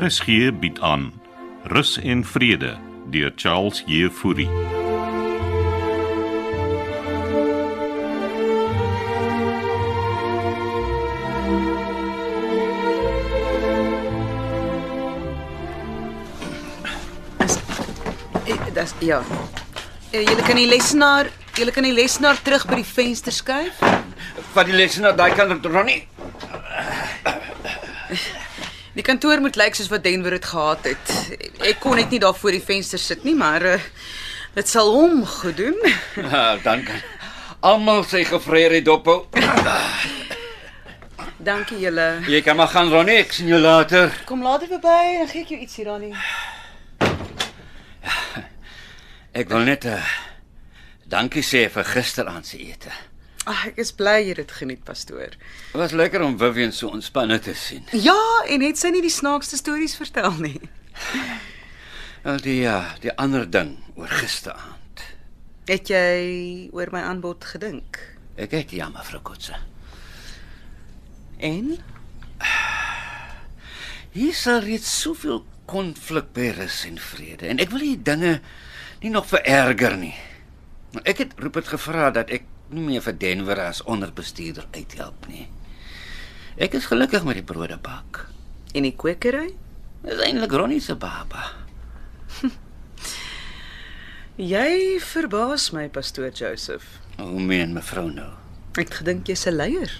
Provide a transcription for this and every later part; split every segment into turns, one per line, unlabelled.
RSG bied aan Rus en Vrede deur Charles Jefouri.
Eh, Dis ja. Eh, Julle kan die lesenaar, julle kan die lesenaar terug by die venster skuif.
Vat die lesenaar daai kant op, Ronnie.
Die kantoor moet lyk soos wat Denver dit gehad het. Ek kon net nie daar voor die venster sit nie, maar eh, dit sal hom goed doen.
Ah, dan kan almal sy gevreerde dophou.
Dankie julle.
Jy kan maar gaan, Ronnie. Ek sien jou later.
Kom later verby, dan gee ek jou iets hier aan nie.
Ek wil net 'n uh, dankie sê vir gisteraand se ete.
Ag, ek is bly jy het dit geniet, pastoor.
Dit was lekker om Vivian so ontspanne te sien.
Ja, en het sy nie die snaakste stories vertel nie.
Al die ja, die ander ding oor gisteraand.
Het jy oor my aanbod gedink?
Ek het ja, mevrou Kotse.
En
Hier is al reeds soveel konflik by rus en vrede en ek wil die dinge nie nog vererger nie. Maar Ek het Rupert gevra dat ek nie meer vir Denver as onderbestuurder uithelp nie. Ek is gelukkig met die broodebak.
en die kwekery?
Dit is eintlik Ronnie se baba.
Jy verbaas my, pastoor Joseph.
Hoe meen mevrou nou?
Ek het gedink jy's 'n leier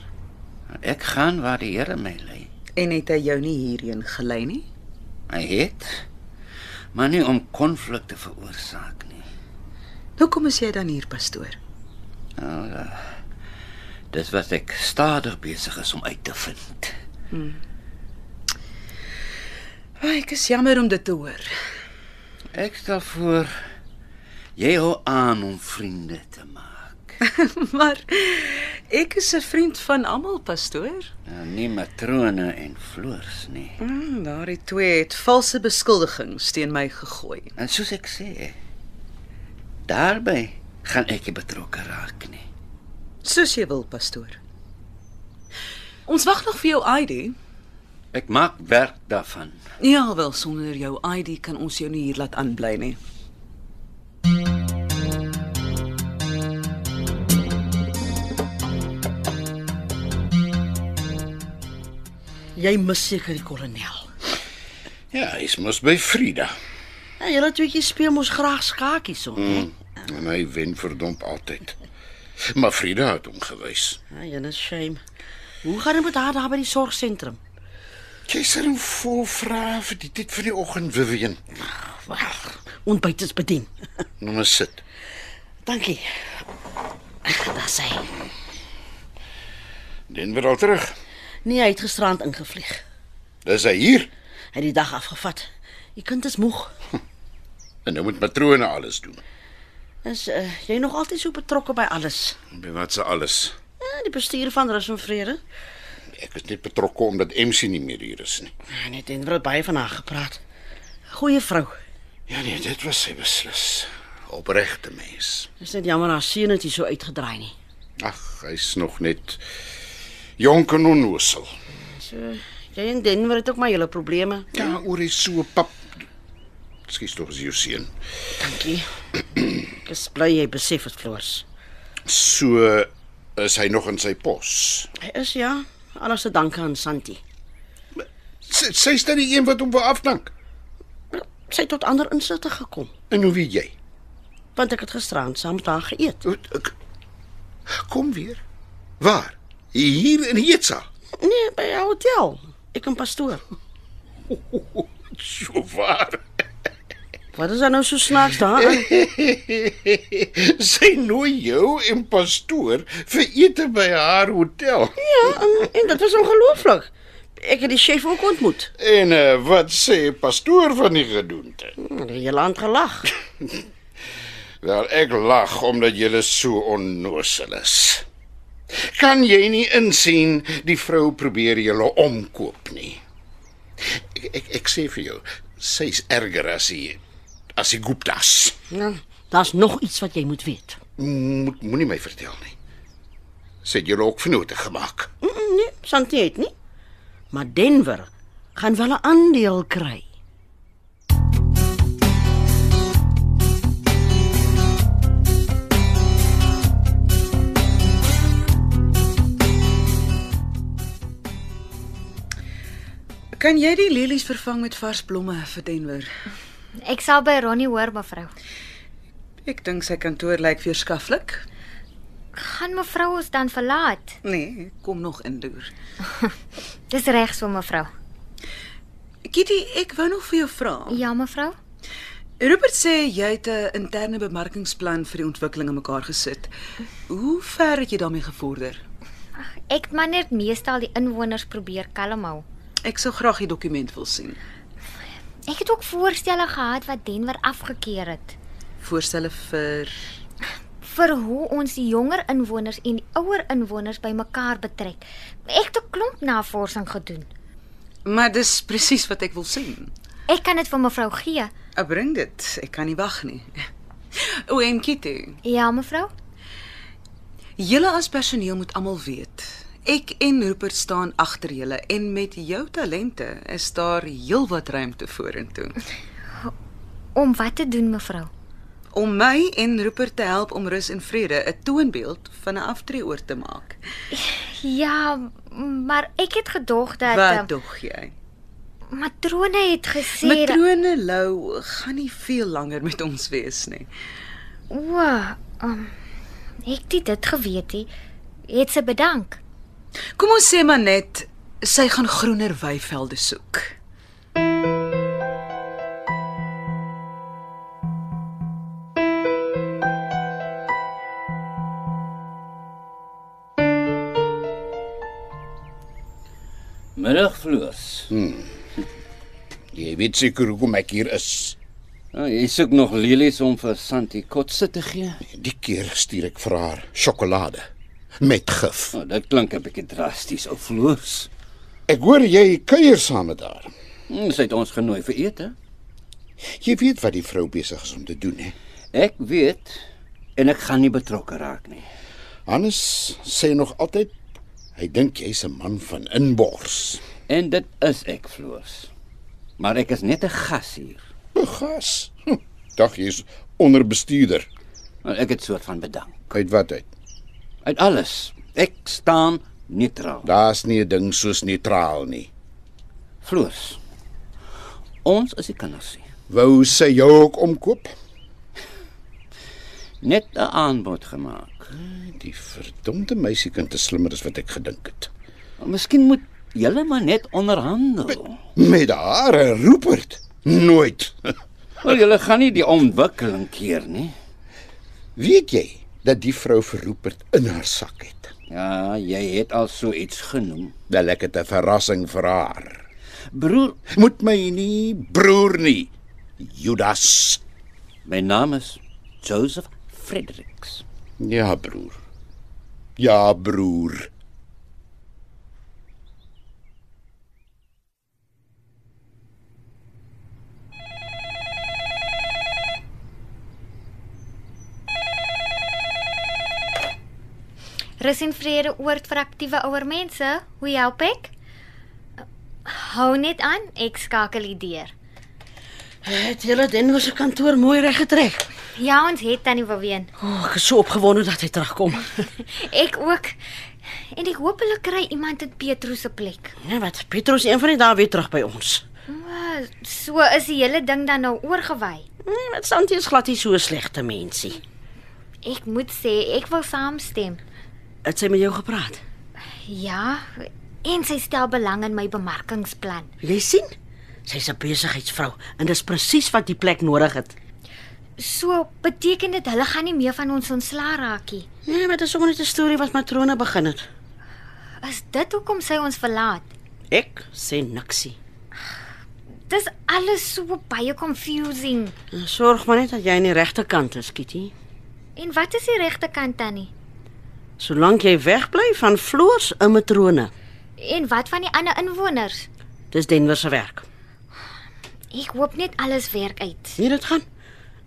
Ek gaan waar die Here my lei.
en het hy jou nie hierheen gelei nie?
Hy het maar nie om konflik te veroorsaak nie.
Hoekom is jy dan hier, pastoor?
Nou, uh, dis wat ek stadig besig is om uit te vind.
Ai, ek is jammer om dit te hoor.
Ek stel voor jy hou aan om vriende te maak.
maar ek is 'n vriend van almal, pastoor.
Nou nie matrone en floors nie.
Mm, daardie twee het valse beskuldigings teen my gegooi.
En soos ek sê, daarby gaan ek nie betrokke raak nie.
Soos jy wil, pastoor. Ons wag nog vir jou ID.
Ek maak werk daarvan.
Ja, wel sonder jou ID kan ons jou nie hier laat aanbly nie.
Jy mis seker die kolonel.
Ja, hy's mos by Frida.
Ja, julle tweeetjies speel mos graag skakies so. Mm.
En hy wen verdomp altyd. Maar Frida het hom gewys.
Ja, jy's 'n shame. Hoe gaan dit met haar daar by die sorgsentrum?
Jy's er 'n vol vrae vir die tyd van die oggend, Vivian.
Wag, ontbyt is bedien.
Nou maar sit.
Dankie. Daar sê.
Denver al terug.
Nee, hy het gisterand ingevlieg.
Dis hy hier.
Hy het die dag afgevat. Die kind is moeg.
En nou moet matrone alles doen.
Is uh, jy nog altyd so betrokke by alles?
By wat se alles.
Ja, die bestuur van Rus en Vrede.
Ek is net betrokke omdat MC nie meer hier is nie.
Ja, net en word baie van haar gepraat. Goeie vrou.
Ja nee, dit was sy beslis. Opregte mens.
Dis net jammer haar seun het hier so uitgedraai nie.
Ag, hy's nog net jonk en onnosel.
So, jy en Denver het ook maar julle probleme.
Ja, oor hy so pap. Skiet tog as jy sien.
Dankie. Ek is bly jy besef dit, Floors.
So is hy nog in sy pos.
Hy is ja, alles te danke aan Santi.
Sy sy is dan die een wat hom wil afdank.
Sy het tot ander insigte gekom,
En hoe weet jy?
want ek het gisterand saam met haar geëet.
Wat- ek- Kom weer. Waar? Hier in Hetsa.
Nee, by die hotel. Ek en pastoor.
So waar.
Wat is dan nou so snaaks daarin?
Sy nooi jou en pastoor vir ete by haar hotel.
Ja, en, en dit was ongelooflik. Ek het die chef ook ontmoet.
En uh, wat sê pastoor van die gedoente?
Hulle het heel aan gelag.
Wel, ek lag omdat jy so onnosel is. Kan jy nie insien die vrou probeer julle omkoop nie? Ek ek, ek sê vir jou, sy's erger as hy as die Guptas.
Ja, daar's nog iets wat jy moet weet.
Moet moenie my vertel nie. Sy het julle ook vennote gemaak.
Mm, mm, Nee, Santi het nie. Maar Denver gaan wel 'n aandeel kry.
Kan jy die lelies vervang met vars blomme vir Denver?
Ek sal by Ronnie hoor, mevrou.
Ek dink sy kantoor lyk weerskaflik.
Gaan mevrou ons dan verlaat?
Nee, kom nog indoor.
Dis reg so, mevrou.
Kitty, ek wou nog vir jou vra.
Ja, mevrou.
Rupert sê jy het 'n interne bemarkingsplan vir die ontwikkeling in mekaar gesit. Hoe ver het jy daarmee gevorder?
Ek het maar net meestal die inwoners probeer kalm hou.
Ek sou graag die dokument wil sien.
Ek het ook voorstelle gehad wat Denver afgekeur het
Voorstelle vir
vir hoe ons die jonger inwoners en die ouer inwoners bymekaar betrek. Ek het 'n klomp navorsing gedoen.
Maar dis presies wat ek wil sien.
Ek kan dit vir mevrou gee.
Ek bring dit. Ek kan nie wag nie. O, en Kitty,
Ja, mevrou.
julle as personeel moet almal weet. Ek en Rupert staan agter julle en met jou talente is daar heelwat ruimte vorentoe.
Om wat te doen, mevrou?
om my en Rupert te help om rus en vrede 'n toonbeeld van 'n aftreeoort te maak.
Ja, m- maar ek het gedog dat
Wat
ehm,
dog jy?
matrone het gesê dat-
Matrone Lou gaan nie veel langer met ons wees nie.
O, um, ek het nie dit geweet nie. Het sy bedank.
Kom ons sê maar net sy gaan groener weivelde soek.
Middagvloers. Hm.
Jy weet seker hoekom ek hier is.
Oh, jy soek nog lelies om vir Santi Kotse te gee?
Die keer stuur ek vir haar sjokolade met gif.
Oh, dit klink 'n bietjie drasties, ou vloers.
Ek hoor jy kuier saam met haar.
Ons Hmm, het ons genooi vir ete.
Jy weet wat die vrou besig is om te doen, hè?
Ek weet en ek gaan nie betrokke raak nie.
Hannes sê nog altyd hy dink jy's 'n man van inbors.
En dit is ek vloers. Maar ek is net 'n gas hier.
Begas. Hm, dag jy's onderbestuurder.
Maar Nou, ek het soort van bedank.
Kyk wat uit.
Uit alles. Ek staan neutraal.
Daar's nie 'n ding soos neutraal nie.
Floors. Ons is die kinders. hier.
Wou sy jou ook omkoop?
Net 'n aanbod gemaak.
Die verdomde meisiekind is slimmer as wat ek gedink het.
Miskien moet julle maar net onderhandel.
Met haar en Rupert. Nooit.
Wel julle gaan nie die ontwikkeling keer nie.
Weet jy dat die vrou vir Rupert in haar sak het?
Ja, jy het al so iets genoem.
Wel ek het 'n verrassing vir haar.
Broer,
Moet my nie broer nie. Judas.
my naam is Joseph Fredericks.
Ja, broer. Ja, broer.
Rus en vrede oort vir aktiewe ouer mense. Hoe help ek? Hou net aan, ek skakel die deur.
Het julle Denver se kantoor mooi reg getrek?
Ja, ons het tannie Waween.
O, oh, ek is so opgewonde dat hy terugkom.
Ek ook. En ek hoop hulle kry iemand in Petrus se plek.
Ja, wat Petrus een van die dae weer terug by ons.
O, So is die hele ding dan nou oorgewy.
Nee, wat Santi is glad nie so 'n slegte mensie.
Ek moet sê, ek wil saamstem.
Het sy met jou gepraat?
Ja, en sy stel belang in my bemarkingsplan.
Jy sien? Sy's 'n besigheidsvrou en dis presies wat die plek nodig het.
So beteken dit hulle gaan nie meer van ons ontslaa raak nie.
Nee, maar dis sommer net 'n storie wat matrone begin het.
Is dit hoekom sy ons verlaat?
Ek sê niksie.
Dis alles so baie confusing.
Nou, Sorg maar net dat jy aan die regte kant is, Kitty.
En wat is die regte kant tannie?
Solank jy wegbly van floors en matrone,
En wat van die ander inwoners?
dis Denver se werk.
Ek hoop net alles werk uit.
Sien dit gaan?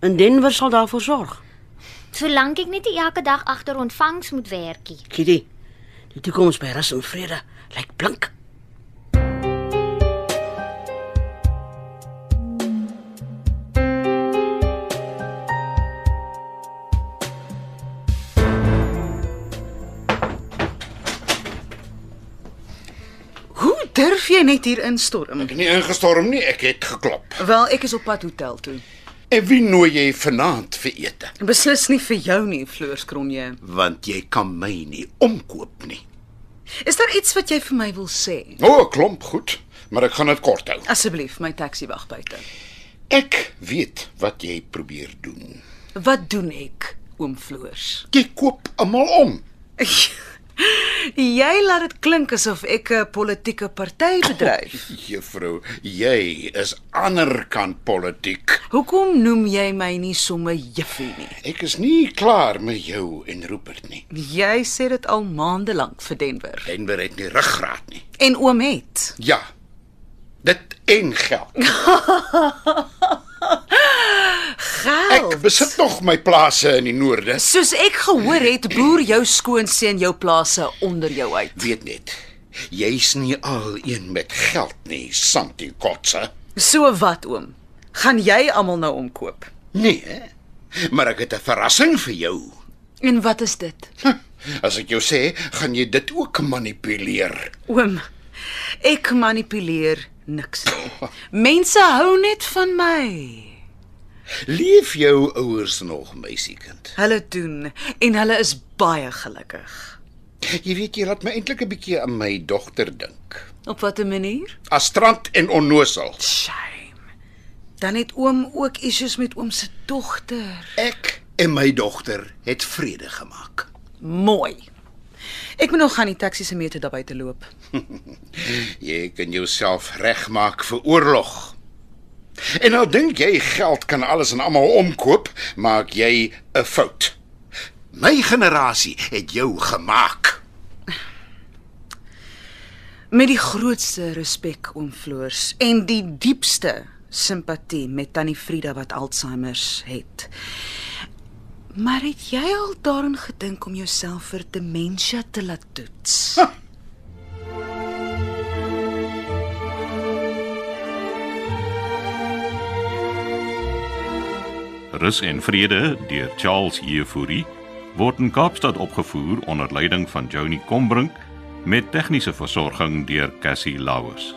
En Denver sal daarvoor sorg.
Solank ek net nie elke dag agter ontvangs moet werkie.
Kitty, die toekoms by rus en vrede lyk blink.
Durf jy net hier instorm?
Nie ingestorm nie, ek het geklop.
Wel, ek is op pad hotel toe.
En wie nooi jy vanaand vir ete?
Beslis nie vir jou nie, Fleurs Kronje.
Want jy kan my nie omkoop nie.
Is daar iets wat jy vir my wil sê?
O, oh, klomp goed, maar ek gaan dit kort hou.
Asseblief, my taxi wag buite.
Ek weet wat jy probeer doen.
Wat doen ek, oom Floors?
Jy koop almal om.
jy laat dit klink asof ek 'n politieke party bedryf.
Juffrou, jy is ander kant politiek.
Hoekom noem jy my nie sommer juffie nie?
Ek is nie klaar met jou en Rupert nie.
Jy sê dit al maande lank vir Denver.
Denver het nie ruggraat nie.
En oom het.
Ja. Dit en geld.
Geld.
Ek besit nog my plase in die noorde.
Soos ek gehoor het, boer jou skoonseun jou plase onder jou uit.
Weet net, jy's nie al een met geld nie, Santi Kotse.
So wat oom? Gaan jy almal nou omkoop?
Nee, maar ek het 'n verrassing vir jou.
En wat is dit?
Hm, As ek jou sê, gaan jy dit ook manipuleer.
Oom, ek manipuleer niks nie. Mense hou net van my.
Leef jou ouers nog, meisiekind.
Hulle doen en hulle is baie gelukkig.
Jy weet jy laat my eintlik 'n bietjie aan my dogter dink.
Op watter manier?
Astrant en onnosel.
Shame. Dan het oom ook issues met oom se dogter.
Ek en my dogter het vrede gemaak.
Mooi. Ek moet nog gaan die taxi se meter daarby te loop.
Jy kan jouself regmaak vir oorlog. En nou dink jy geld kan alles en almal omkoop, maak jy 'n fout. My generasie het jou gemaak.
Met die grootste respek oom Floors en die diepste simpatie met tannie Frida wat Alzheimer het. Maar het jy al daaraan gedink om jouself vir demensie te laat toets?
Rus en Vrede deur Charles Jefouri word in Kaapstad opgevoer onder leiding van Johnny Combrink met tegniese versorging deur Cassie Lauers.